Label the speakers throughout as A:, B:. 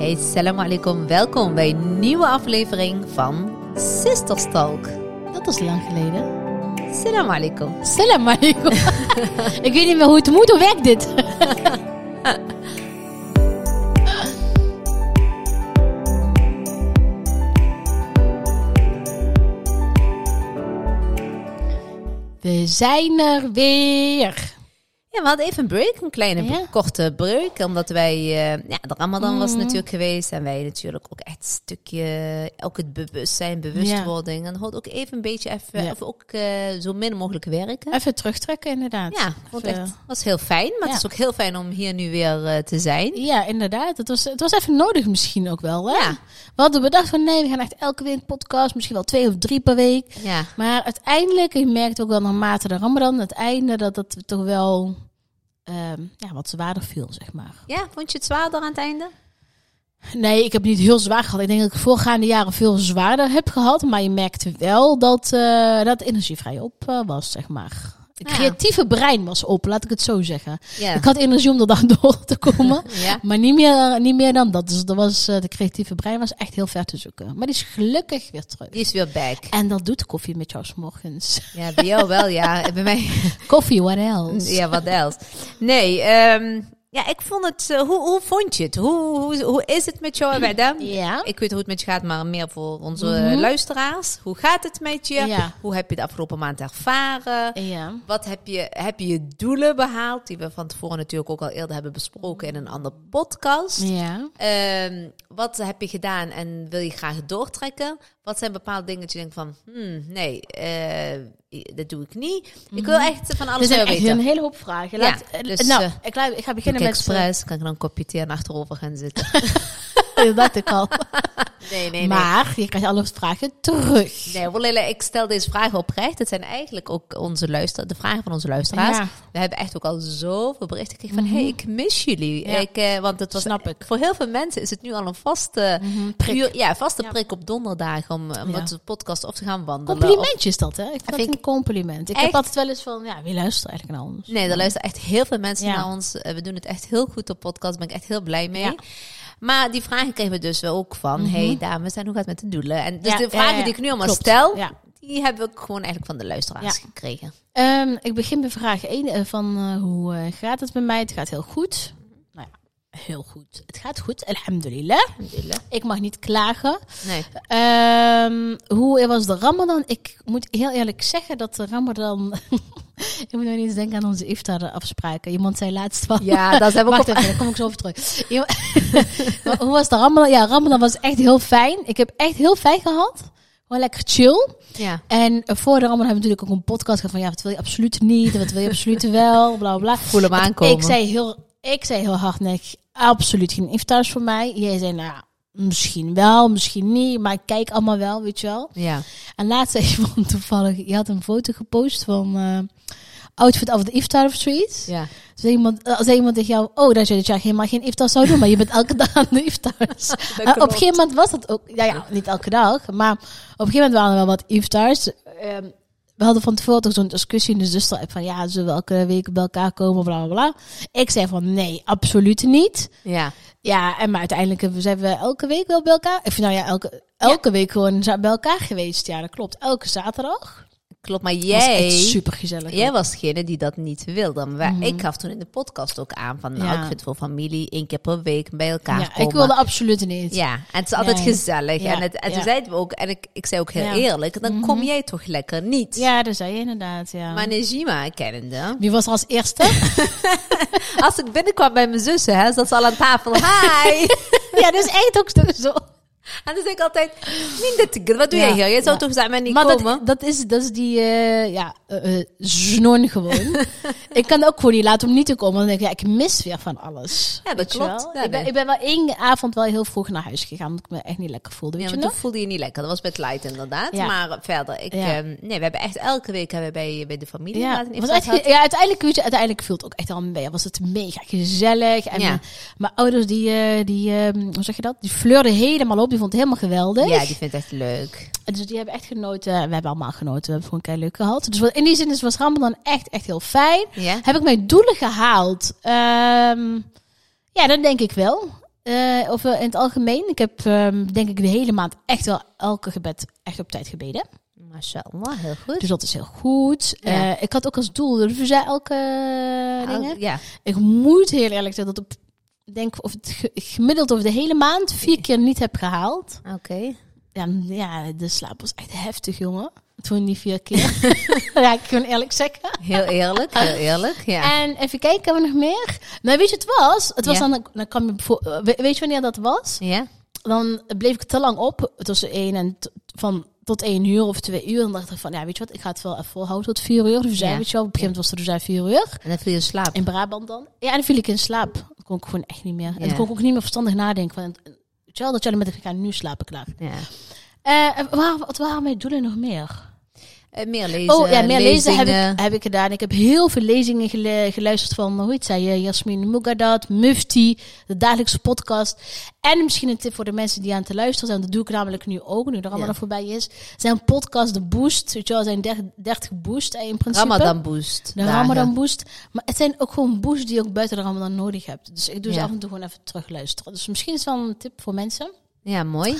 A: Hey, salam alaikum. Welkom bij een nieuwe aflevering van Sisters Talk.
B: Dat is lang geleden.
A: Salam alaikum.
B: Salam alaikum. ik weet niet meer hoe het moet, hoe werkt dit? We zijn er weer.
A: Ja, we hadden even een break, een kleine
B: Ja. Mhm.
A: korte break. Omdat wij, eh, ja, de Ramadan was natuurlijk geweest. En wij natuurlijk ook echt een stukje, ook het bewustzijn, bewustwording. En dat hoort ook even een beetje even,
B: Ja.
A: of ook eh, zo min mogelijk werken.
B: Even terugtrekken, inderdaad.
A: Ja, vond ik
B: Even-
A: echt, was heel fijn. Maar
B: Ja.
A: het is ook heel fijn om hier nu weer eh, te zijn.
B: Ja, inderdaad. Het was, het was even nodig misschien ook wel. Hè?
A: Ja.
B: We hadden bedacht van nee, we gaan echt elke week een podcast. Misschien wel twee of drie per week.
A: Ja.
B: Maar uiteindelijk, je merkt ook wel naarmate de ramadan, het einde, dat dat toch wel ehm, ja, wat zwaarder viel, zeg maar.
A: Ja, vond je het zwaarder aan het einde?
B: Nee, ik heb het niet heel zwaar gehad. Ik denk dat ik voorgaande jaren veel zwaarder heb gehad. Maar je merkte wel dat, eh, dat energie vrij op eh, was, zeg maar. Het
A: Ja.
B: creatieve brein was op, laat ik het zo zeggen.
A: Ja.
B: Ik had energie om er dan door te komen.
A: Ja.
B: Maar niet meer, niet meer dan dat. Dus dat was, eh, de creatieve brein was echt heel ver te zoeken. Maar die is gelukkig weer terug.
A: Die is weer back.
B: En dat doet koffie met jou 's morgens.
A: Ja, bij jou wel, ja. Bij mij
B: Koffie, what else?
A: Ja, wat else? Nee, ehm, ja, ik vond het... eh, hoe, hoe vond je het? Hoe, hoe, hoe is het met jou, Abedam?
B: Ja. Mhm.
A: Ik weet hoe het met je gaat, maar meer voor onze luisteraars. Hoe gaat het met je?
B: Ja.
A: Hoe heb je de afgelopen maand ervaren?
B: Ja.
A: Wat heb je, heb je je doelen behaald? Die we van tevoren natuurlijk ook al eerder hebben besproken in een andere podcast.
B: Ja.
A: Ehm, wat heb je gedaan en wil je graag doortrekken? Wat zijn bepaalde dingen dat je denkt van, hmm, nee, eh, dat doe ik niet. Ik wil echt van
B: Er
A: alles
B: zijn
A: wel
B: Mhm. Dus echt
A: weten.
B: een hele hoop vragen.
A: Ja,
B: Laat, eh,
A: dus,
B: nou,
A: eh,
B: ik, laat- ik ga
A: Doe
B: beginnen
A: ik
B: met...
A: expres, kan ik dan een kopje thee en achterover gaan zitten?
B: eh, dat ik al.
A: Nee, nee, nee.
B: Maar je krijgt alle vragen terug.
A: Nee, Wallela, ik stel deze vragen oprecht. Het zijn eigenlijk ook onze luister, de vragen van onze luisteraars.
B: Ja. Mhm.
A: We hebben echt ook al zoveel berichten gekregen van... hey, ik mis jullie.
B: Ja.
A: Ik, eh, want het was,
B: Snap ik. Mhm.
A: voor heel veel mensen is het nu al een vaste,
B: prik.
A: uur- ja, vaste
B: Ja.
A: prik op donderdagen... om, eh, om
B: Ja.
A: met de podcast of te gaan wandelen. of-
B: Complimentje is dat, hè? Ik vind dat
A: vind
B: een compliment. Ik
A: echt-
B: heb altijd wel eens van, ja, wie luistert eigenlijk naar ons?
A: Nee, er luisteren echt heel veel mensen
B: Ja.
A: naar ons. Eh, We doen het echt heel goed op podcast. Daar ben ik echt heel blij mee.
B: Ja. Mhm.
A: Maar die vragen kregen we dus wel ook van... hey, dames, en hoe gaat het met de doelen? En dus
B: Ja,
A: de
B: ja,
A: vragen
B: ja, ja.
A: die ik nu allemaal
B: Klopt.
A: stel...
B: Ja.
A: die hebben we ook gewoon eigenlijk van de luisteraars
B: Ja.
A: gekregen.
B: Ehm, ik begin bij vraag 1 van eh, hoe eh, gaat het met mij? Het gaat heel goed. Nou ja, heel goed. Het gaat goed, alhamdulillah. Ik mag niet klagen.
A: Nee.
B: Ehm, hoe was de Ramadan? Ik moet heel eerlijk zeggen dat de Ramadan. ik moet nog eens denken aan onze iftar-afspraken. Iemand zei laatst van.
A: Ja, dat hebben we ook
B: Wacht even, daar kom ik zo over terug. Iemand- Maar hoe was de Ramadan? Ja, Ramadan was echt heel fijn. Ik heb echt heel fijn gehad. Gewoon lekker chill.
A: Ja.
B: En eh, voor de Ramadan hebben we natuurlijk ook een podcast gehad van ja, wat wil je absoluut niet, wat wil je absoluut wel, bla bla. bla.
A: Voel hem
B: Want
A: aankomen.
B: Ik zei heel, ik zei heel hard nee, absoluut geen iftars voor mij. Jij zei nou, ja, misschien wel, misschien niet, maar ik kijk allemaal wel, weet je wel.
A: Ja.
B: En laatst zei iemand toevallig, je had een foto gepost van eh, outfit of the iftar of zoiets.
A: Ja.
B: Zei iemand, eh, zei iemand tegen jou, oh, dat je dit jaar helemaal geen iftar zou doen, maar je bent elke dag aan de iftars. Eh, op een
A: klopt.
B: gegeven moment was dat ook, ja, ja, niet elke dag, maar op een gegeven moment waren er wel wat iftars. Ehm, we hadden van tevoren toch zo'n discussie in de zuster-app van, ja, zullen we elke week bij elkaar komen, bla, bla, bla. Ik zei van, nee, absoluut niet.
A: Ja.
B: Ja, en maar uiteindelijk hebben- zijn we elke week wel bij elkaar, of nou ja, elke, elke week gewoon za- bij elkaar geweest. Ja, dat klopt. Elke zaterdag.
A: Klopt, maar
B: Dat was
A: jij...
B: echt super gezellig.
A: Jij was degene die dat niet wilde. Maar wij- ik gaf toen in de podcast ook aan van... Nou,
B: Mhm. Ja.
A: ik vind voor familie één keer per week bij elkaar
B: ja,
A: komen.
B: ik wilde absoluut niet.
A: Ja, en het is altijd
B: Nee.
A: gezellig.
B: Ja,
A: En, het, en toen
B: ja.
A: zeiden we ook, en ik, ik zei ook heel
B: Ja. Mhm.
A: eerlijk, dan kom jij toch lekker niet.
B: Ja, dat zei je inderdaad, ja.
A: Maar Nejima kennende.
B: Wie was er als eerste?
A: Als ik binnenkwam bij mijn zussen, hè, zat ze al aan tafel. Hi!
B: ja, dus echt ook zo- zo.
A: en dan zeg ik altijd, Mindetigre, wat doe
B: Ja,
A: jij hier? Jij zou
B: ja.
A: toch samen niet
B: Maar
A: komen?
B: dat, dat, is, dat is die, eh, ja, eh eh, znon gewoon. ik kan ook gewoon niet laten om niet te komen. Want dan denk ik, ja, ik mis weer van alles.
A: Ja, dat
B: Weet je
A: klopt.
B: wel?
A: Ja,
B: ik, ben,
A: nee.
B: ik ben wel één avond wel heel vroeg naar huis gegaan, omdat ik me echt niet lekker voelde. Weet
A: ja,
B: je
A: want
B: nog?
A: toen voelde je niet lekker. Dat was met Light inderdaad.
B: Ja.
A: Maar verder, ik,
B: Ja.
A: ehm, nee, we hebben echt elke week hebben we bij, bij de familie
B: Ja,
A: laten een
B: was
A: iftar
B: echt,
A: gehad.
B: ge- ja, uiteindelijk, weet je, uiteindelijk viel het ook echt al mee. Was het mega gezellig. En
A: Ja.
B: mijn, mijn ouders, die, eh, die eh, hoe zeg je dat? Die fleurden helemaal op. Die vond het helemaal geweldig.
A: Ja, die vindt het echt leuk.
B: En Dus die hebben echt genoten. En We hebben allemaal genoten. We hebben gewoon keihard leuk gehad. Dus wat- in die zin is, was Ramadan echt, echt heel fijn.
A: Ja?
B: Heb ik mijn doelen gehaald? Ehm, ja, dat denk ik wel. eh, of eh, in het algemeen. Ik heb ehm, denk ik de hele maand echt wel elke gebed echt op tijd gebeden.
A: Mashallah, heel goed.
B: Dus dat is heel goed.
A: Ja. Ah,
B: Eh, ik had ook als doel de Ruzza elke eh, dingen.
A: Ja,
B: Ik moet heel eerlijk zeggen dat op denk of het ge- gemiddeld over de hele maand vier keer niet heb gehaald.
A: oké.
B: Ja, m- ja de slaap was echt heftig, jongen. Toen die vier keer. ja, ik kan eerlijk zeggen.
A: Heel eerlijk, heel eerlijk. Ja.
B: En even kijken, hebben we nog meer? Nou, weet je wat het was? Het was
A: Ja.
B: dan, dan kwam je bijvoor- eh, we- weet je wanneer dat was?
A: Ja?
B: Dan bleef ik te lang op, tussen één en t- van tot één uur of twee uur. En dan dacht ik van, ja, weet je wat, ik ga het wel even volhouden tot vier uur. Dus
A: Ja.
B: weet je wel, op een gegeven moment was er dus vier uur.
A: En dan viel je in slaap.
B: In Brabant dan. Ja, en dan viel ik in slaap. Dat kon ik gewoon echt niet meer. En
A: Ja.
B: dan kon ik ook niet meer verstandig nadenken. Van, eh, weet je wel, dat jullie met elkaar nu slapen klaar.
A: Ja.
B: Eh, en waar, wat waren mijn doelen nog meer?
A: Eh, meer lezen.
B: oh ja, meer lezen heb
A: lezingen. eh,
B: ik, heb ik gedaan. Ik heb heel veel lezingen gele- geluisterd van, hoe heet zij? eh, Jasmin Mugadat, Mufti, de dagelijkse podcast. En misschien een tip voor de mensen die aan het luisteren zijn. Dat doe ik namelijk nu ook, nu de Ramadan
A: Ja.
B: voorbij is. Zijn podcast, de Boost. Weet je wel, zijn 30 30 Boost eh, in principe.
A: Ramadan boost.
B: De
A: dagen.
B: Ramadan boost. Maar het zijn ook gewoon boosts die je ook buiten de Ramadan nodig hebt. Dus ik doe
A: Ja.
B: ze af en toe gewoon even terugluisteren. Dus misschien is het wel een tip voor mensen.
A: Ja, mooi.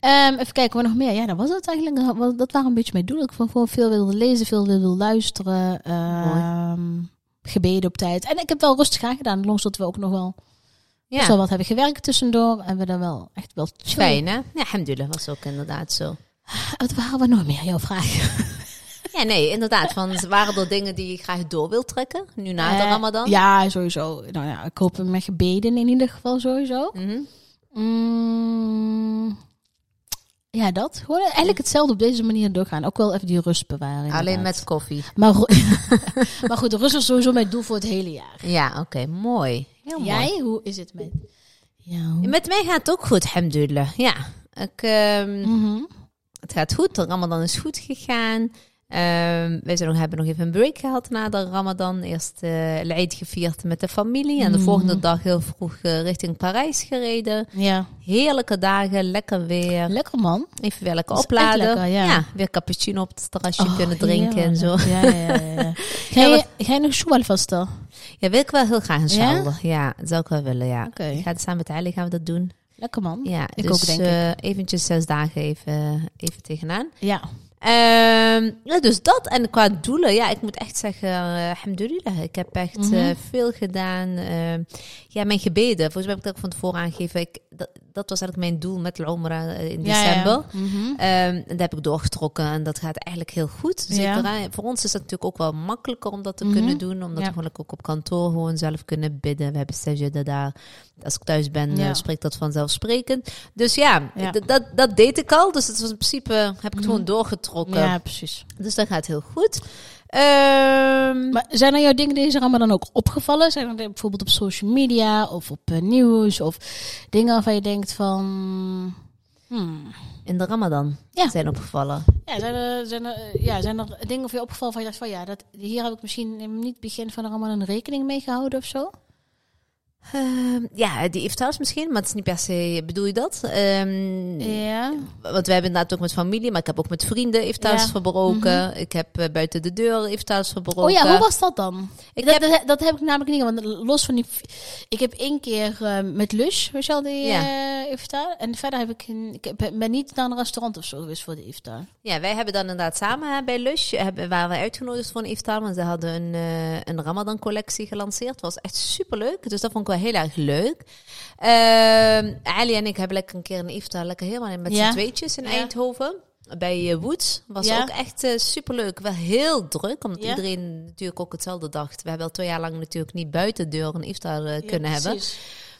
B: Ehm, even kijken, wat nog meer? Ja, dat was het eigenlijk. Wel, Dat waren een beetje mijn doelen. Ik vond gewoon veel wilde lezen, veel wilde luisteren. ehm, gebeden op tijd. En ik heb wel rustig aangedaan. Langs dat we ook nog wel best wel
A: Ja,
B: wat hebben gewerkt tussendoor. En we dan wel echt wel chill.
A: fijn hè? Ja, alhamdulillah was ook inderdaad zo.
B: Wat waren we nog meer? Jouw vraag.
A: Ja, nee, inderdaad. Van, waren er dingen die je graag door wilt trekken? Nu na de
B: Eh,
A: Ramadan?
B: Ja, sowieso. Nou ja, ik hoop met gebeden in ieder geval sowieso.
A: Mhm.
B: Mm, ja, dat. Gewoon eigenlijk hetzelfde op deze manier doorgaan. Ook wel even die rust bewaren.
A: Alleen
B: inderdaad.
A: met koffie.
B: Maar, ro- maar goed, de rust is sowieso mijn doel voor het hele jaar.
A: Ja, oké, mooi. Heel mooi.
B: Jij, hoe is het met jou?
A: Met mij gaat het ook goed, alhamdulillah. Ja, ik, ehm,
B: Mhm.
A: het gaat goed. De Ramadan is goed gegaan. Ehm we zijn nog, hebben nog even een break gehad na de Ramadan. Eerst eh Eid gevierd met de familie. En de
B: Mm.
A: volgende dag heel vroeg eh, richting Parijs gereden.
B: Ja.
A: Heerlijke dagen, lekker weer.
B: Lekker man.
A: Even weer lekker
B: Dat is echt
A: opladen.
B: lekker, ja.
A: weer cappuccino op het terrasje
B: Oh,
A: kunnen drinken en zo.
B: heerlijk. Ja, ja, ja. ja. Ga,
A: Ja,
B: je, ga je nog shoewal vasten?
A: Ja, wil ik wel heel graag, inshallah. Ja, dat zou ik wel willen, ja.
B: Oké.
A: Ik ga het samen met Ali gaan we dat doen.
B: Lekker man.
A: Ja,
B: Ik
A: dus,
B: ook, denk
A: eh, eventjes zes dagen even, even tegenaan.
B: Ja.
A: Ehm, ja, dus dat. En qua doelen, ja, ik moet echt zeggen, eh alhamdulillah. Ik heb echt
B: Mhm.
A: eh, veel gedaan. Ehm, ja, mijn gebeden. Volgens mij heb ik dat ook van tevoren aangegeven. Ik, dat, dat was eigenlijk mijn doel met de Omra eh, in
B: Ja,
A: december.
B: Ja, Mhm.
A: Ehm, en dat heb ik doorgetrokken en dat gaat eigenlijk heel goed. Zeker,
B: Ja.
A: hè. Voor ons is dat natuurlijk ook wel makkelijker om dat te
B: Mhm.
A: kunnen doen. Omdat
B: Ja.
A: we gewoon ook op kantoor gewoon zelf kunnen bidden. We hebben sajida daar. Als ik thuis ben,
B: Ja.
A: eh, spreekt dat vanzelfsprekend. Dus ja,
B: Ja. Mhm.
A: d- Dat, dat deed ik al. Dus het was in principe heb ik het gewoon doorgetrokken.
B: ja, precies.
A: Dus dat gaat heel goed. Ehm,
B: Maar zijn er jouw dingen deze Ramadan ook opgevallen? Zijn er bijvoorbeeld op social media of op eh, nieuws of dingen waarvan je denkt van... hmm.
A: in de ramadan
B: Ja.
A: zijn opgevallen.
B: Ja, zijn er, zijn er, eh, ja, zijn er dingen of je opgevallen van je dacht van ja, dat, hier heb ik misschien in niet het begin van de Ramadan rekening mee gehouden of zo?
A: Ehm, ja, die iftars misschien, maar het is niet per se... Bedoel je dat? Ehm,
B: Ja.
A: Want we hebben inderdaad ook met familie, maar ik heb ook met vrienden iftars
B: Ja. Mhm.
A: verbroken. Ik heb eh, buiten de deur iftars verbroken.
B: Oh ja, hoe was dat dan?
A: Ik
B: dat, dat, dat heb ik namelijk niet, want los van die... Ik heb één keer eh, met Lush, weet je wel, die eh, iftar. En verder heb ik... een- Ik heb- ben niet naar een restaurant of zo geweest voor de iftar.
A: Ja, wij hebben dan inderdaad samen hè, bij Lush hebben, waren we uitgenodigd voor een iftar. Want ze hadden een, eh, een Ramadan collectie gelanceerd. Het was echt superleuk. Dus dat vond ik wel heel erg leuk. Ehm, Ali en ik hebben lekker een keer een iftar. Lekker helemaal met
B: Ja.
A: z'n tweetjes in
B: Ja.
A: Eindhoven. Bij eh, Woods was
B: Ja.
A: ook echt eh, superleuk. Wel heel druk, omdat
B: Ja.
A: iedereen natuurlijk ook hetzelfde dacht. We hebben al twee jaar lang natuurlijk niet buiten de deur een iftar eh, kunnen hebben.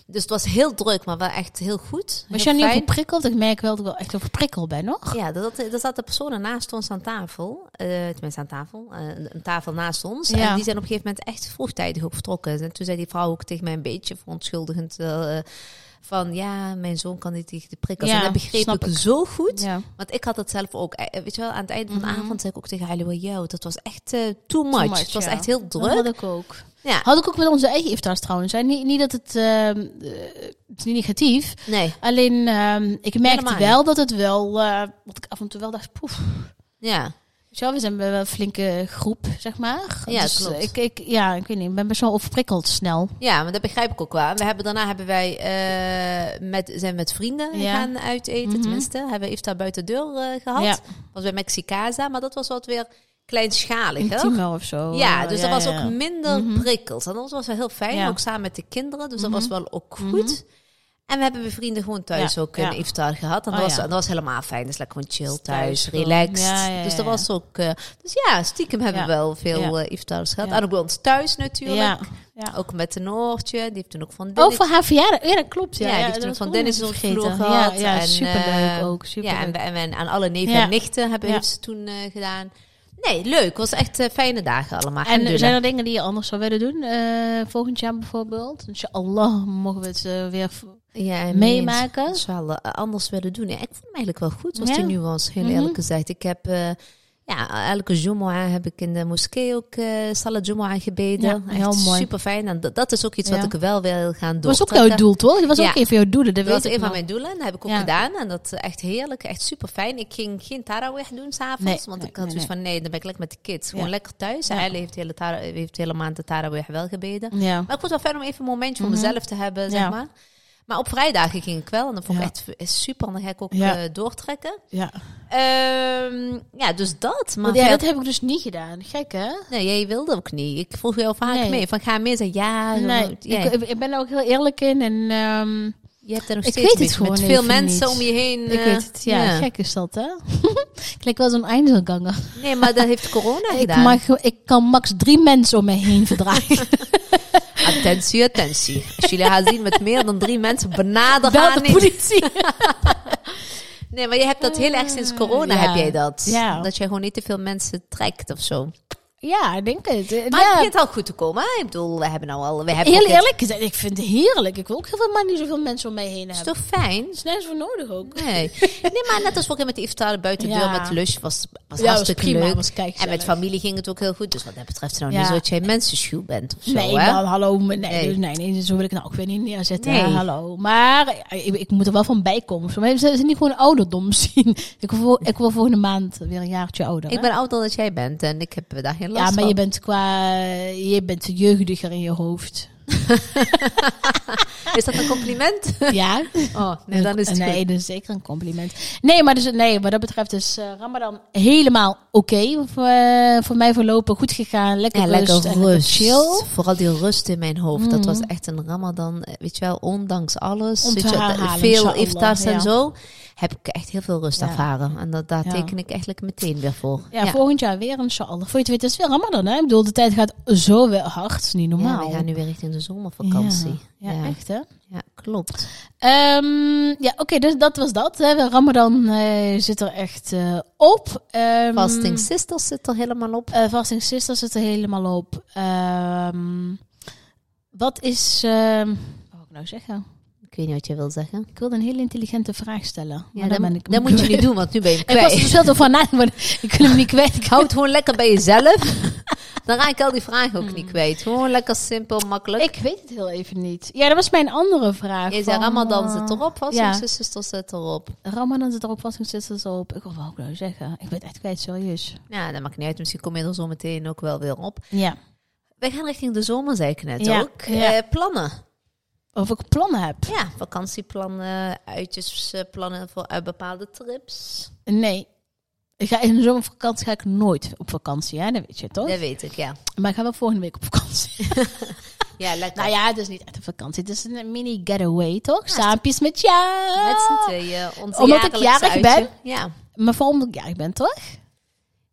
A: Dus het was heel druk, maar wel echt heel goed.
B: Was
A: heel
B: jij niet
A: fijn.
B: overprikkeld? Ik merk wel dat ik wel echt overprikkeld ben, nog.
A: Ja, dat, dat, er zaten personen naast ons aan tafel. eh tenminste, aan tafel. eh, een tafel naast ons.
B: Ja.
A: En die zijn op een gegeven moment echt vroegtijdig ook vertrokken. En toen zei die vrouw ook tegen mij een beetje verontschuldigend... eh, van ja, mijn zoon kan niet tegen de prikkels.
B: Ja,
A: en dat begreep
B: snap
A: ik,
B: ik.
A: zo goed.
B: Ja.
A: Want ik had het zelf ook. Eh, Weet je wel, aan het eind van de
B: Mhm.
A: avond zei ik ook tegen Aliwa... Yo, dat was echt eh, too, much.
B: much,
A: Het was
B: ja.
A: echt heel
B: Dat
A: druk.
B: had ik ook.
A: Ja.
B: Had ik ook met onze eigen iftars trouwens. hè. Niet, niet dat het... ehm, eh, het is niet negatief.
A: Nee,
B: Alleen, ehm, ik merkte
A: normaal.
B: wel dat het wel... eh dat ik af en toe wel dacht, poef.
A: ja.
B: Zo, we zijn wel een flinke groep, zeg maar.
A: Ja,
B: dus
A: klopt.
B: Ik, ik, ja, ik weet niet, ik ben best wel overprikkeld snel.
A: Ja, maar dat begrijp ik ook wel. En we hebben, daarna hebben wij, eh, met, zijn met vrienden
B: Ja.
A: gaan uiteten.
B: Mhm.
A: Tenminste, hebben we iftar buiten de deur eh, gehad.
B: Ja.
A: was bij Mexicaza, maar dat was wat weer kleinschaliger.
B: Intiemer of zo.
A: Ja, dus dat was
B: ja.
A: ook minder
B: Mhm.
A: prikkels. En dat was wel heel fijn,
B: Ja.
A: ook samen met de kinderen. Dus
B: Mhm.
A: dat was wel ook goed. En we hebben bij vrienden gewoon thuis
B: Ja,
A: ook eh, een
B: ja.
A: iftar gehad. En dat,
B: Oh,
A: was,
B: ja.
A: en dat was helemaal fijn. Dus lekker gewoon chill
B: Dus
A: thuis,
B: thuis gewoon.
A: relaxed.
B: Ja, ja,
A: Dus dat
B: ja,
A: was ook... eh, dus ja, stiekem hebben
B: Ja.
A: we wel veel eh iftars gehad. En ook bij ons thuis natuurlijk.
B: Ja. ja.
A: Ook met de Noortje, die heeft toen ook van
B: Oh,
A: Oh, Dennis...
B: voor haar verjaardag. Ja, dat klopt. Ja,
A: Ja, die
B: ja
A: heeft
B: dat
A: toen
B: was
A: van
B: ook
A: Dennis
B: nog
A: op de
B: vergeten.
A: vloer
B: Ja,
A: gehad.
B: ja
A: En,
B: superleuk
A: eh,
B: ook. Superleuk.
A: ja, en, we- en, we- en aan alle neven
B: Ja.
A: en nichten hebben,
B: Ja.
A: heeft ze toen eh, gedaan. Nee, leuk. Het was echt eh, fijne dagen allemaal. dus-
B: En eh,
A: Alhamdulillah.
B: zijn er dingen die je anders zou willen doen? Eh, volgend jaar bijvoorbeeld? Inshallah mogen we het eh, weer v-
A: ja, en mensen-
B: meemaken.
A: Het zal eh, anders willen doen. Ja, ik vond hem eigenlijk wel goed, was
B: Ja?
A: die nuance, heel
B: Mhm.
A: eerlijk gezegd. Ik heb... eh, ja, elke Jumu'ah heb ik in de moskee ook eh Salat Jumu'ah gebeden.
B: Ja, heel mooi.
A: Super fijn. En dat, dat is ook iets
B: Ja.
A: wat ik wel wil gaan doen.
B: Dat was ook jouw doel, toch? Dat was
A: Ja.
B: ook een van jouw doelen,
A: Dat
B: dat, weet
A: was
B: ik
A: een van
B: nog.
A: mijn doelen. Dat heb ik ook
B: Ja.
A: gedaan. En dat eh, echt heerlijk. Echt super fijn. Ik ging geen tarawih doen s'avonds.
B: Nee,
A: want
B: nee,
A: ik had
B: nee,
A: zoiets van nee, dan ben ik lekker met de kids. Gewoon
B: Ja.
A: lekker thuis.
B: Ja.
A: Hij heeft de hele, tara- heeft de hele maand de tarawih wel gebeden.
B: Ja.
A: Maar ik vond het wel fijn om even een momentje voor
B: Mhm.
A: mezelf te hebben, zeg
B: Ja.
A: maar. Maar op vrijdagen ging ik wel. En dat vond ik
B: Ja.
A: echt v- super. En dan ga ik ook
B: Ja.
A: eh, doortrekken.
B: ja.
A: Ehm, ja, dus dat. Maar
B: Want ja,
A: verder-
B: dat heb ik dus niet gedaan. Gek, hè?
A: Nee, jij wilde ook niet. Ik vroeg jou vaak
B: Nee.
A: mee. Van ga mee. Zei ja.
B: Nee,
A: ja.
B: ik, ik ben er ook heel eerlijk in. En, ehm,
A: je hebt er nog
B: ik
A: steeds
B: weet het
A: mee.
B: gewoon
A: met veel
B: even
A: mensen
B: niet.
A: om je heen.
B: ik
A: eh,
B: weet het, ja, Gek is dat, hè? ik lijk wel zo'n eindelganger.
A: Nee, maar dat heeft corona
B: Ik,
A: gedaan.
B: mag, ik kan max drie mensen om me heen verdragen.
A: Attentie, attentie. Als jullie haar zien met meer dan drie mensen, benader
B: Bel
A: haar
B: de
A: niet.
B: politie.
A: Nee, maar je hebt dat heel erg sinds corona,
B: Ja.
A: heb jij dat.
B: Ja.
A: Dat jij gewoon niet te veel mensen trekt of zo.
B: ja, ik denk het.
A: Maar
B: ja.
A: het begint al goed te komen. hè? Ik bedoel, we hebben nou al... We hebben
B: Heel
A: ook-
B: eerlijk gezegd, ik vind het heerlijk. Ik wil ook heel veel maar niet zoveel mensen om mij heen
A: Het is
B: hebben.
A: toch fijn?
B: is nergens voor nodig ook.
A: Nee. nee, maar net als vorige keer met de iftar buiten de deur
B: Ja.
A: met Lush was, was
B: Ja, was
A: hartstikke
B: prima,
A: leuk.
B: was
A: en
B: kijkgezellig.
A: met familie ging het ook heel goed. Dus wat dat betreft nou
B: Ja.
A: niet zo dat jij mensenschuw bent of zo,
B: nee,
A: hè?
B: man, hallo. Nee,
A: Nee.
B: nee. Nee, nee, zo wil ik nou ook weer niet neerzetten.
A: Nee.
B: hè, hallo. Maar eh, ik, ik moet er wel van bij komen. Zo, Maar ze ze niet gewoon ouderdom zien. Ik wil, ik wil volgende maand weer een jaartje ouder.
A: Ik
B: hè?
A: ben ouder dan jij bent en ik heb daar geen last
B: ja, maar
A: van.
B: je bent qua... Je bent jeugdiger in je hoofd.
A: Is dat een compliment?
B: Ja?
A: Oh, nee, dan is het
B: nee,
A: goed.
B: dat is zeker een compliment. Nee, maar dus, nee, wat dat betreft is eh, Ramadan helemaal oké. Voor, eh, voor mij voorlopig goed gegaan. Lekker
A: Ja,
B: rust,
A: lekker
B: en lekker
A: rust.
B: chill.
A: Vooral die rust in mijn hoofd. Dat
B: Mhm.
A: was echt een ramadan. eh, Weet je wel, ondanks alles.
B: Om te
A: weet je,
B: herhalen,
A: veel
B: inshallah,
A: iftars en
B: ja.
A: zo. Heb ik echt heel veel rust
B: Ja.
A: ervaren. En dat, daar
B: Ja.
A: teken ik eigenlijk meteen weer voor.
B: Ja, volgend jaar weer inshallah. Voor je het weet is het weer Ramadan, hè? Ik bedoel, de tijd gaat zo weer hard. Het is niet
A: Ja,
B: normaal.
A: we gaan nu weer richting de zomervakantie.
B: Ja,
A: Ja,
B: ja, echt hè?
A: Ja, klopt.
B: Ehm, ja, oké, dus dat was dat. Hè. De Ramadan eh, zit er echt eh, op. Ehm,
A: Fasting Sisters zit er helemaal op.
B: eh, Fasting Sisters zit er helemaal op. Ehm, wat is... ehm, wat wil ik nou zeggen?
A: Ik weet niet wat je wil zeggen.
B: Ik wilde een hele intelligente vraag stellen. maar
A: Ja,
B: daar
A: dat,
B: ben ik
A: dat moet je niet doen, want nu ben je hem
B: Ik was
A: kwijt.
B: er dus veel te van na, maar ik kon hem niet kwijt. Ik
A: Houd gewoon lekker bij jezelf. Dan raak ik al die vragen ook
B: Mm.
A: niet kwijt. Gewoon lekker simpel, makkelijk.
B: Ik weet het heel even niet. Ja, dat was mijn andere vraag.
A: Je zei
B: van,
A: Ramadan
B: eh,
A: zit erop,
B: ja.
A: Fasting Sisters zit erop.
B: Ramadan zit erop, vasting zit erop. Ik wil ook nou zeggen. Ik ben het echt kwijt, serieus.
A: Ja, dat maakt niet uit. Misschien kom je er zo meteen ook wel weer op.
B: Ja.
A: Wij gaan richting de zomer, zei ik net
B: Ja,
A: ook.
B: ja.
A: Eh, plannen.
B: Of ik plannen heb?
A: Ja, vakantieplannen, uitjesplannen voor uit bepaalde trips.
B: Nee. Ik ga in de zomervakantie ga ik nooit op vakantie, hè? Dat weet je toch?
A: Dat weet ik, ja.
B: Maar ik ga wel volgende week op vakantie.
A: Ja, lekker.
B: nou ja, het is niet echt een vakantie. Het is een mini getaway, toch?
A: Ja,
B: Saampjes met jou.
A: Met z'n tweeën. Onze
B: Omdat ik
A: jaarlijkse
B: jarig ben?
A: uitje. Ja.
B: Maar vooral omdat ik jarig ben, toch?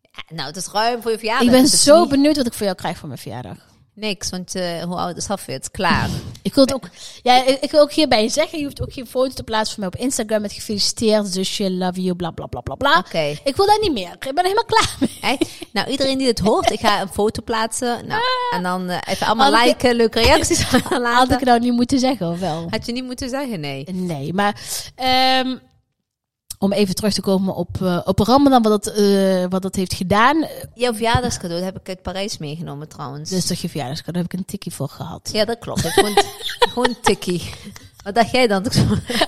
A: Ja, Nou, het is ruim voor je verjaardag. Dus
B: ik ben
A: Het is
B: zo
A: niet-
B: benieuwd wat ik voor jou krijg voor mijn verjaardag.
A: Niks, want eh, hoe oud is Hafid? Klaar.
B: Ik wil, het ook, ja, ik ik wil ook hierbij zeggen, je hoeft ook geen foto te plaatsen van mij op Instagram met gefeliciteerd, zusje, love you, bla bla bla bla bla.
A: Oké.
B: Ik wil dat niet meer. Ik ben er helemaal klaar mee.
A: Hè? Nou, iedereen die dit hoort, ik ga een foto plaatsen. Nou,
B: Ah.
A: en dan eh, even allemaal
B: Had ik-
A: liken, leuke reacties
B: Had ik
A: laten.
B: het nou niet moeten zeggen, of wel?
A: Had je niet moeten zeggen, nee.
B: Nee, maar ehm, om even terug te komen op, eh, op Ramadan, wat dat, eh, wat dat heeft gedaan. Eh,
A: Jouw verjaardagscadeau dat heb ik uit Parijs meegenomen trouwens.
B: Dus toch je verjaardagscadeau, daar heb ik een tikkie voor gehad.
A: Ja, dat klopt. Ik Gewoon, gewoon tikkie. Wat dacht jij dan?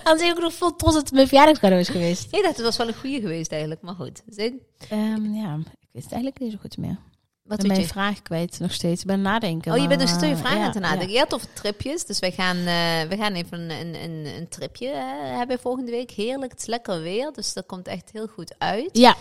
B: Aan ik nog vol trots dat het mijn verjaardagscadeau is geweest.
A: Ik dacht, het was wel een goede geweest eigenlijk, maar goed. Zin?
B: Ehm, ja, ik weet het eigenlijk niet zo goed meer.
A: Wat
B: ik ben
A: doet
B: mijn
A: je?
B: vraag kwijt nog steeds. Ik ben nadenken.
A: Oh, je
B: maar,
A: bent dus
B: eh,
A: je vragen
B: ja,
A: te nadenken. Ja, tof tripjes. Dus we gaan, eh, we gaan even een, een, een, een tripje eh, hebben volgende week. Heerlijk, het is lekker weer. Dus dat komt echt heel goed uit.
B: Ja.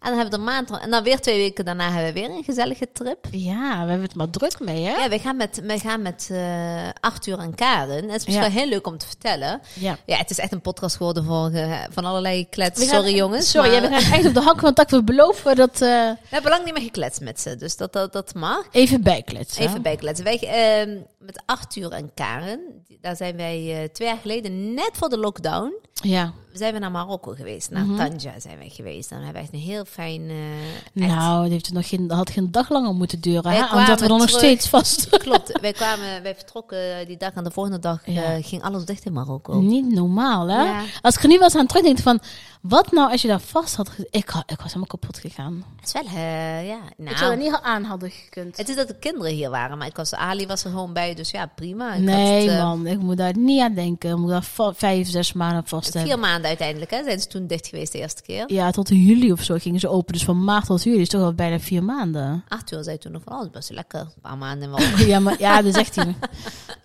A: En dan hebben we er maand... En dan weer twee weken daarna hebben we weer een gezellige trip.
B: ja, we hebben het maar druk mee, hè?
A: Ja, we gaan met, we gaan met eh, Arthur en Karen. Het is misschien
B: Ja.
A: wel heel leuk om te vertellen.
B: Ja.
A: Ja, het is echt een podcast geworden voor, eh, van allerlei klets.
B: We gaan-
A: Sorry jongens.
B: Sorry,
A: maar
B: ja, we gaan echt op de hak van tak. We beloven dat eh,
A: we hebben lang niet meer gekletst met ze. Dus dat, dat, dat mag.
B: even bijkletsen.
A: Even bijkletsen. Wij, ehm, met Arthur en Karen, die- daar zijn wij eh, twee jaar geleden, net voor de lockdown,
B: Ja.
A: zijn we naar Marokko geweest. Naar
B: Mhm.
A: Tanja zijn wij geweest. Dan hebben we echt een heel fijn... eh, echt-
B: Nou, dat, heeft het nog geen, dat had geen dag langer moeten duren,
A: Wij
B: hè? Omdat we
A: kwamen
B: dan nog
A: terug.
B: steeds vast...
A: Klopt. Wij, kwamen, wij vertrokken die dag en de volgende dag eh,
B: Ja.
A: ging alles dicht in Marokko.
B: Niet normaal, hè?
A: Ja.
B: Als ik er nu wel eens aan terugdenk van... Wat nou als je daar vast had... ge- Ik, ha- ik was helemaal kapot gegaan.
A: Het is wel, eh, ja.
B: Ik zou
A: Nou,
B: er niet aan hadden gekund.
A: het is dat de kinderen hier waren, maar ik was, Ali was er gewoon bij, dus ja, prima. Ik
B: nee,
A: had, eh,
B: man. Ik moet daar niet aan denken. Ik moet daar va- vijf, zes maanden vast hebben.
A: Vier maanden uiteindelijk, hè, zijn ze toen dicht geweest de eerste keer.
B: Ja, tot in juli of zo gingen ze open. Dus van maart tot juli is toch al bijna vier maanden.
A: Arthur zei toen nog van, oh, het is best lekker, een paar maanden wel.
B: ja, maar ja, dat zegt hij.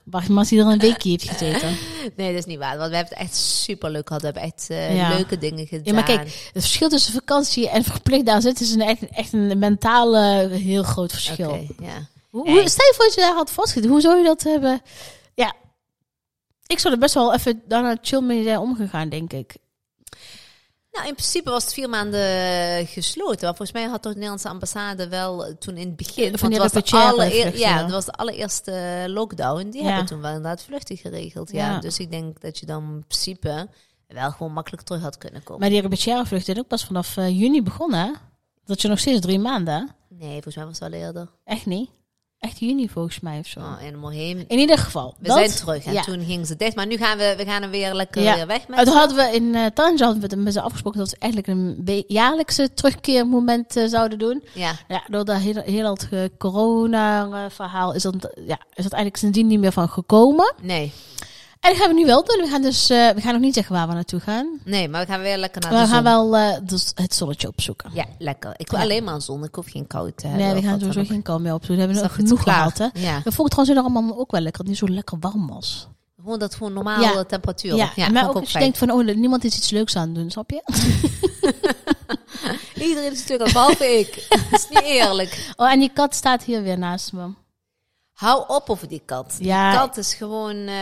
B: Wacht maar als hij er een weekje heeft gezeten.
A: Nee, dat is niet waar. Want we hebben het echt super leuk gehad. We hebben echt eh,
B: Ja.
A: leuke dingen gedaan.
B: Ja, maar kijk, het verschil tussen vakantie en verplicht daar zitten is een, echt, echt een mentale heel groot verschil.
A: Oké, ja.
B: Hoe, hoe- stel je voor dat je daar had vastgezeten. Hoe zou je dat hebben? Ja, ik zou er best wel even daarna chill mee zijn omgegaan, denk ik.
A: Nou, in principe was het vier maanden eh, gesloten. Want volgens mij had de Nederlandse ambassade wel eh, toen in het begin...
B: Van
A: want
B: die
A: het was de
B: rapportaire
A: allereer-
B: vluchten,
A: Ja,
B: ja.
A: dat was de allereerste lockdown. Die
B: Ja.
A: hebben toen wel inderdaad vluchten geregeld. Ja.
B: Ja.
A: Dus ik denk dat je dan in principe wel gewoon makkelijk terug had kunnen komen.
B: Maar die Rebecca vlucht is ook pas vanaf eh, juni begonnen. hè? Dat je nog steeds drie maanden. hè?
A: Nee, volgens mij was het wel eerder.
B: Echt niet. Echt juni volgens mij of zo.
A: Oh, en Morheem.
B: In ieder geval.
A: We
B: dat-
A: zijn terug en
B: ja.
A: toen ging ze dicht. Maar nu gaan we, we gaan er weer lekker
B: Ja.
A: weer weg met
B: Het hadden we in eh Tanja hadden we het met ze afgesproken dat we eigenlijk een be- jaarlijkse terugkeermoment eh, zouden doen.
A: Ja.
B: Ja, door dat hele, heel dat eh, corona-verhaal is dat, ja, is dat eigenlijk sindsdien niet meer van gekomen.
A: Nee.
B: En dat gaan we nu wel doen. We gaan dus eh, we gaan nog niet zeggen waar we naartoe gaan.
A: nee, maar we gaan weer lekker naar
B: maar
A: de
B: we gaan
A: zon.
B: wel eh, dus het zonnetje opzoeken.
A: Ja, lekker. Ik wil
B: Ja.
A: alleen maar zon. Ik hoef geen koud te hebben.
B: nee, we
A: of
B: gaan
A: wat
B: sowieso
A: dan ook.
B: geen kou meer opzoeken. We hebben
A: Snap
B: nog
A: je, het
B: genoeg
A: is klaar.
B: gehad. Hè?
A: Ja.
B: Dat vond ik trouwens in allemaal ook wel lekker. Dat het niet zo lekker warm was.
A: Gewoon dat het gewoon normale
B: Ja.
A: temperatuur.
B: Ja,
A: Ja, vond
B: maar
A: ik
B: ook als je
A: fijn.
B: denkt van, oh, niemand is iets leuks aan het doen, snap je?
A: Iedereen is natuurlijk al, behalve ik. Dat is niet eerlijk.
B: Oh, en die kat staat hier weer naast me.
A: Hou op over die kat.
B: Ja.
A: Die kat is gewoon... eh,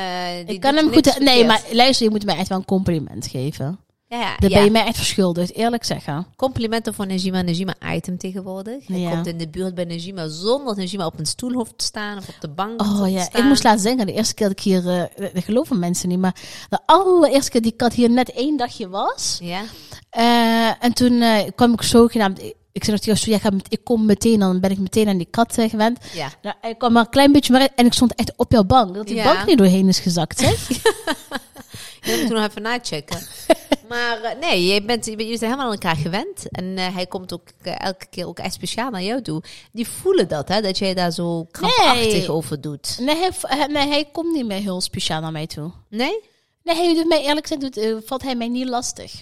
A: die
B: Ik kan
A: doet
B: hem
A: niks
B: goed... Nee,
A: verkeerd.
B: maar luister, je moet mij echt wel een compliment geven.
A: Ja, ja,
B: Daar
A: ja.
B: ben je mij echt verschuldigd, eerlijk zeggen.
A: Complimenten voor Najima. Najima item tegenwoordig. Hij
B: Ja.
A: komt in de buurt bij Najima zonder dat Najima op een stoel hoeft te staan of op de bank hoeft
B: Oh
A: te
B: ja, ik
A: staan.
B: moest laatst denken, de eerste keer dat ik hier... eh, dat geloven mensen niet, maar de allereerste keer die kat hier net één dagje was.
A: Ja?
B: eh, en toen eh, kwam ik zogenaamd... Ik, ik zei nog tegen zo, ja, ik, ga met- ik kom meteen, dan ben ik meteen aan die kat eh, gewend.
A: Ja.
B: Nou, ik kwam maar een klein beetje maar in en ik stond echt op jouw bank. Dat die
A: Ja.
B: bank er niet doorheen is gezakt, hè?
A: Je moet ik toen nog even nachecken. Maar eh, nee, je bent, je bent- jullie zijn helemaal aan elkaar gewend. En eh, hij komt ook eh, elke keer ook echt speciaal naar jou toe. Die voelen dat, hè? Dat jij daar zo krampachtig
B: Nee.
A: over doet.
B: Nee, hij, hij- nee, hij komt niet meer heel speciaal naar mij toe.
A: Nee?
B: Nee, hij doet mij eerlijk gezegd, doet, eh, valt hij mij niet lastig.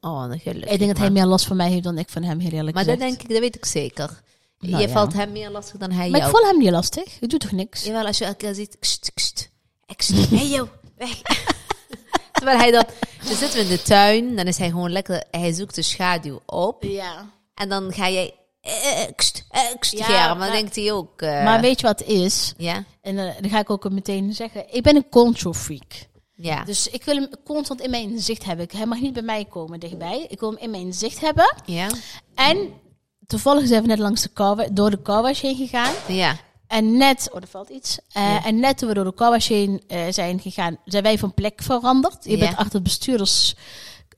A: Oh, dan gelukkig.
B: ik denk dat hij
A: maar.
B: meer last van mij heeft dan ik van hem, heel eerlijk
A: Maar dat
B: gezegd.
A: denk ik, dat weet ik zeker.
B: Nou
A: je
B: ja.
A: valt hem meer lastig dan hij
B: maar
A: jou.
B: ik val hem niet lastig. Ik doe toch niks?
A: Jawel, als je elke keer ziet... Kst, kst, kst, hey yo, weg. Terwijl hij dan... Dan zitten we in de tuin, dan is hij gewoon lekker... Hij zoekt de schaduw op.
B: Ja.
A: En dan ga jij... eh, eh, Kst, eh, kst,
B: Ja,
A: ja, maar
B: maar-
A: dan denkt hij ook... eh,
B: Maar weet je wat het is?
A: Ja,
B: En eh, dan ga ik ook meteen zeggen. Ik ben een control freak.
A: ja.
B: Dus ik wil hem constant in mijn zicht hebben. Ik- Hij mag niet bij mij komen dichtbij. Ik wil hem in mijn zicht hebben.
A: ja,
B: En toevallig zijn we net langs de car, wa- door de car wash heen gegaan.
A: ja.
B: En net, oh, er valt iets. Eh,
A: Ja.
B: En net toen we door de Kawash heen eh, zijn gegaan, zijn wij van plek veranderd. Je
A: Ja.
B: bent achter de bestuurders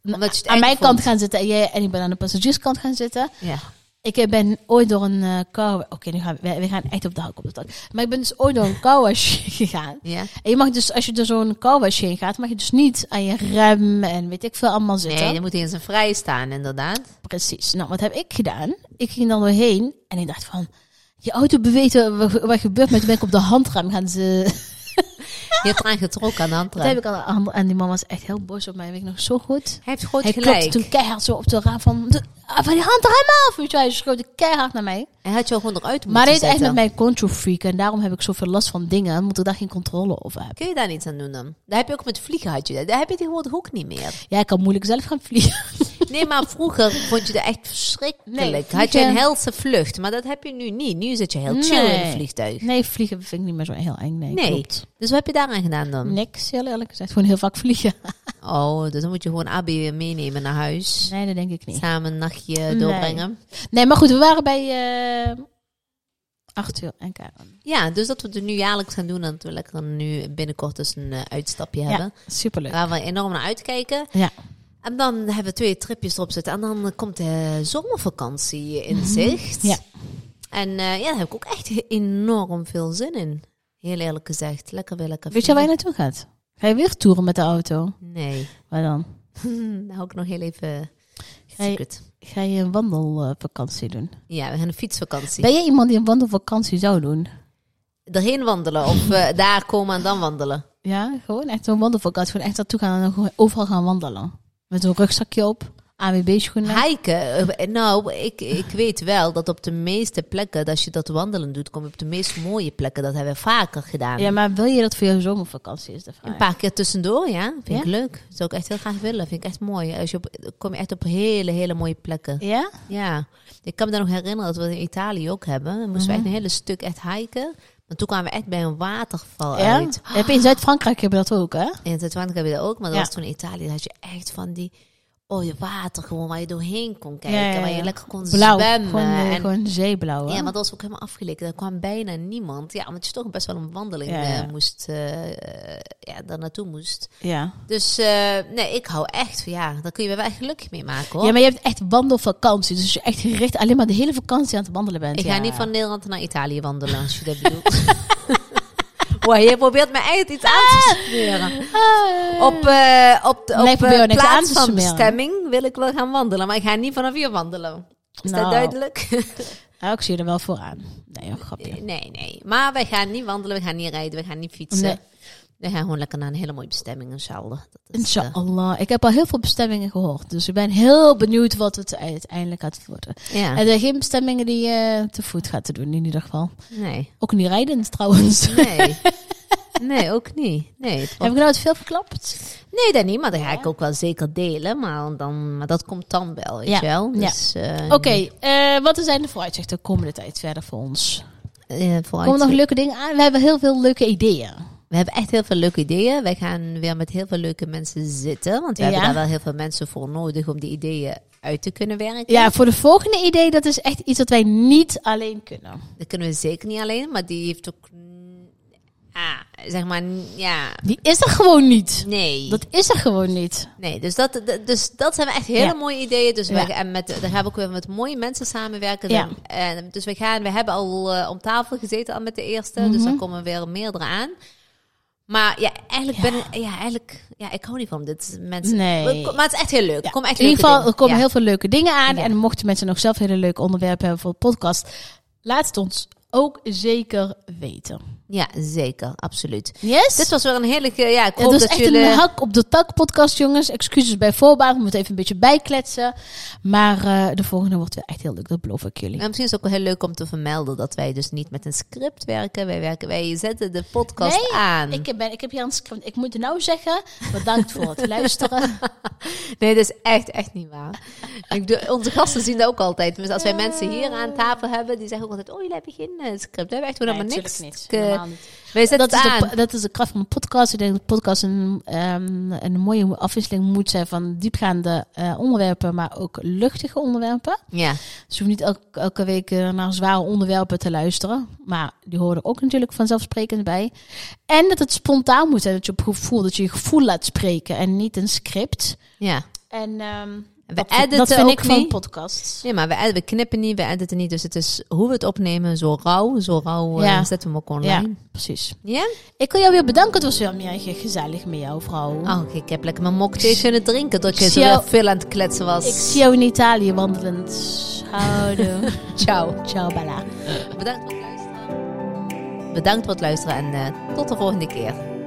A: Omdat je het
B: aan
A: eng
B: mijn
A: vond.
B: kant gaan zitten en, jij, en ik ben aan de passagierskant gaan zitten.
A: Ja.
B: Ik ben ooit door een eh car... Oké, nu gaan we, we gaan echt op de hak op de tak. Maar ik ben dus ooit door een carwash gegaan.
A: Ja.
B: En je mag dus, als je door zo'n carwash heen gaat, mag je dus niet aan je rem en weet ik veel allemaal zitten.
A: Nee, dan moet hij in zijn vrij staan, inderdaad.
B: Precies. Nou, wat heb ik gedaan? Ik ging dan doorheen en ik dacht van... Je auto beweegt, wat, wat gebeurt met? Toen ben ik op de handrem gaan ze...
A: Je hebt eraan getrokken aan de hand.
B: Dat heb ik aan, aan- aan die mama is echt heel boos op mij. Weet ik nog zo goed.
A: Hij heeft groot
B: hij klopte
A: gelijk.
B: toen keihard zo op de raam van... "De- ah, Van die hand er helemaal af. Weet je wel, Hij schoot keihard naar mij.
A: Hij had jou gewoon eruit moeten
B: Maar dit is echt
A: zetten.
B: met mijn control freak. En daarom heb ik zoveel last van dingen. Omdat ik daar geen controle over heb.
A: Kun je daar niets aan doen dan? Daar heb je ook met vliegen had je dat. Daar heb je tegenwoordig ook niet meer.
B: Ja, ik kan moeilijk zelf gaan vliegen.
A: Nee, maar vroeger vond je dat echt verschrikkelijk.
B: Nee,
A: Had je
B: vliegen-
A: een helse vlucht, maar dat heb je nu niet. Nu zit je heel chill in
B: Nee.
A: een vliegtuig.
B: Nee, vliegen vind ik niet meer zo heel eng. Nee,
A: Nee.
B: klopt.
A: Dus wat heb je daaraan gedaan dan?
B: Niks, heel eerlijk gezegd. Gewoon heel vaak vliegen.
A: Oh, dus dan moet je gewoon Abby weer meenemen naar huis.
B: Nee, dat denk ik niet.
A: Samen een nachtje
B: Nee.
A: doorbrengen.
B: Nee, maar goed, we waren bij eh Arthur en Karen.
A: Ja, dus dat we het nu jaarlijks gaan doen. En dat we lekker nu binnenkort dus een eh, uitstapje hebben.
B: superleuk.
A: Waar we enorm naar uitkijken.
B: Ja.
A: En dan hebben we twee tripjes erop zitten. En dan komt de zomervakantie in zicht.
B: Mhm. Ja.
A: En eh, ja, daar heb ik ook echt he- enorm veel zin in. Heel eerlijk gezegd. Lekker weer lekker.
B: Weet je waar je naartoe gaat? Ga je weer toeren met de auto?
A: Nee.
B: Waar dan?
A: Daar hou ik nog heel even...
B: Hey.
A: Secret.
B: Ga je een wandelvakantie doen?
A: Ja, we gaan een fietsvakantie.
B: Ben je iemand die een wandelvakantie zou doen?
A: Daarheen wandelen of eh, daar komen en dan wandelen.
B: Ja, gewoon echt zo'n wandelvakantie. Gewoon echt naartoe gaan en dan gewoon overal gaan wandelen. Met een rugzakje op, AWB-schoenen.
A: Hiken, eh, nou, ik, ik weet wel dat op de meeste plekken, als je dat wandelen doet, kom je op de meest mooie plekken. Dat hebben we vaker gedaan.
B: Ja, maar wil je dat voor je zomervakantie is de vraag.
A: Een paar keer tussendoor, ja. Vind ik
B: Ja?
A: leuk. Zou ik echt heel graag willen. Vind ik echt mooi. Als je op, kom je echt op hele, hele mooie plekken.
B: Ja?
A: Ja. Ik kan me dan nog herinneren dat we het in Italië ook hebben. Dan moesten we
B: Mhm.
A: echt een hele stuk echt hiken. Maar toen kwamen we echt bij een waterval
B: Oh, Ja?
A: uit.
B: Heb je in Zuid-Frankrijk heb je dat ook, hè?
A: In Zuid-Frankrijk heb je dat ook, maar dat
B: Ja.
A: was toen in Italië. Daar had je echt van die... Oh, je water gewoon waar je doorheen kon kijken.
B: Ja, ja, ja.
A: Waar je lekker kon
B: Blauw.
A: zwemmen.
B: Gewoon, eh,
A: en
B: gewoon zeeblauw, hè?
A: ja, maar dat was ook helemaal afgeleken. Er kwam bijna niemand. Ja, omdat je toch best wel een wandeling
B: Ja, ja.
A: eh, moest, eh, eh, ja, daar naartoe moest.
B: ja.
A: Dus eh, nee, ik hou echt van, ja, daar kun je wel echt gelukkig mee maken hoor.
B: Ja, maar je hebt echt wandelvakantie. Dus je echt gericht alleen maar de hele vakantie aan het wandelen bent.
A: ik
B: ja.
A: ga niet van Nederland naar Italië wandelen, als je dat bedoelt. Wow, je probeert me echt iets aan te smeren.
B: Ah.
A: Op, eh op de op,
B: Nee, ik probeer
A: eh,
B: niks aan
A: plaats
B: te
A: van
B: smeren.
A: bestemming wil ik wel gaan wandelen, maar ik ga niet vanaf hier wandelen. Is
B: Nou.
A: dat duidelijk?
B: Ja, ik zie je er wel vooraan. Nee, een grapje.
A: nee, nee. Maar wij gaan niet wandelen, we gaan niet rijden, we gaan niet fietsen.
B: Nee.
A: We gaan gewoon lekker naar een hele mooie bestemming, inshallah. Dat is, eh,
B: Inshallah. Ik heb al heel veel bestemmingen gehoord. Dus ik ben heel benieuwd wat het uiteindelijk gaat worden.
A: ja,
B: En er zijn geen bestemmingen die je te voet gaat te doen in ieder geval.
A: nee.
B: Ook niet rijdend trouwens.
A: Nee. Nee, ook niet. Nee, het
B: Heb ik nou het veel verklapt?
A: Nee, dat niet, maar dat ga ik ook wel zeker delen. Maar, dan, maar dat komt dan wel, weet
B: Ja,
A: je wel.
B: ja.
A: Dus, eh,
B: Oké, eh, wat zijn de vooruitzichten de komende tijd verder voor ons?
A: eh, vooruit.
B: Komen nog leuke dingen aan? We hebben heel veel leuke ideeën.
A: We hebben echt heel veel leuke ideeën. Wij gaan weer met heel veel leuke mensen zitten. Want we
B: Ja.
A: hebben daar wel heel veel mensen voor nodig om die ideeën uit te kunnen werken.
B: Ja, voor de volgende idee, dat is echt iets dat wij niet alleen kunnen.
A: Dat kunnen we zeker niet alleen, maar die heeft ook... mm, Ah, zeg maar, mm, ja...
B: Die is er gewoon niet.
A: Nee.
B: Dat is er gewoon niet.
A: nee, dus dat, dat- dus dat zijn echt hele
B: Ja.
A: mooie ideeën. Dus
B: Ja.
A: we, en met, daar gaan we ook weer met mooie mensen samenwerken.
B: Ja.
A: En, dus we, gaan, we hebben al eh, om tafel gezeten al met de eerste.
B: Mhm.
A: Dus dan komen weer meerdere aan. Maar ja, eigenlijk ben ik... Ja, eigenlijk... Ja, ik hou niet van dit. Mensen,
B: Nee.
A: We- Maar het is echt heel leuk. Er komen echt
B: In
A: leuke
B: ieder geval,
A: dingen.
B: er komen
A: Ja.
B: heel veel leuke dingen aan.
A: Ja.
B: En mochten mensen nog zelf hele leuke onderwerpen hebben voor de podcast, laat het ons ook zeker weten.
A: Ja, zeker. Absoluut.
B: Yes?
A: Dit was weer een hele... ge- Ja, ik
B: het
A: hoop
B: was
A: dat
B: echt
A: jullie...
B: een hak op de tak podcast, jongens. Excuses bij voorbaat. We moeten even een beetje bijkletsen. Maar eh, de volgende wordt weer echt heel leuk. Dat beloof ik jullie.
A: En misschien is het ook wel heel leuk om te vermelden dat wij dus niet met een script werken. Wij, werken, wij zetten de podcast
B: Nee,
A: aan.
B: Ik, ben, ik heb hier een script. Ik moet nou zeggen, bedankt voor het luisteren.
A: Nee, dat is echt, echt niet waar. Ik doe, onze gasten zien dat ook altijd. Dus als wij mensen hier aan tafel hebben, die zeggen ook altijd... Oh, jullie hebben geen eh, script. We hebben echt helemaal
B: Nee,
A: niks.
B: natuurlijk
A: Ik, eh,
B: Helemaal niet.
A: wij zetten
B: dat, is
A: het aan.
B: de, dat is de kracht van een podcast. Ik denk dat podcast een, ehm, een mooie afwisseling moet zijn van diepgaande eh, onderwerpen, maar ook luchtige onderwerpen.
A: ja.
B: Dus je hoeft niet elke, elke week eh, naar zware onderwerpen te luisteren. Maar die horen ook natuurlijk vanzelfsprekend bij. En dat het spontaan moet zijn, dat je op gevoel, dat je je gevoel laat spreken en niet een script.
A: ja.
B: En ehm,
A: We
B: dat, vind-
A: editen
B: dat vind
A: ook
B: ik van
A: niet.
B: podcasts.
A: Nee, maar we, ed- we knippen niet, we editen niet. Dus het is hoe we het opnemen, zo rauw. Zo rauw eh,
B: Ja.
A: zetten we hem ook
B: Ja,
A: online.
B: precies.
A: Ja?
B: Ik wil jou weer bedanken. Het was weer meer ge- gezellig met jou, vrouw.
A: Oh, ik heb lekker mijn mocktail kunnen drinken. Tot je
B: Ik
A: zo
B: zie jou-
A: veel aan het kletsen was.
B: Ik zie jou in Italië wandelend. Houdoe.
A: Ciao.
B: Ciao, Bella.
A: Bedankt voor het luisteren. Bedankt voor het luisteren en eh, tot de volgende keer.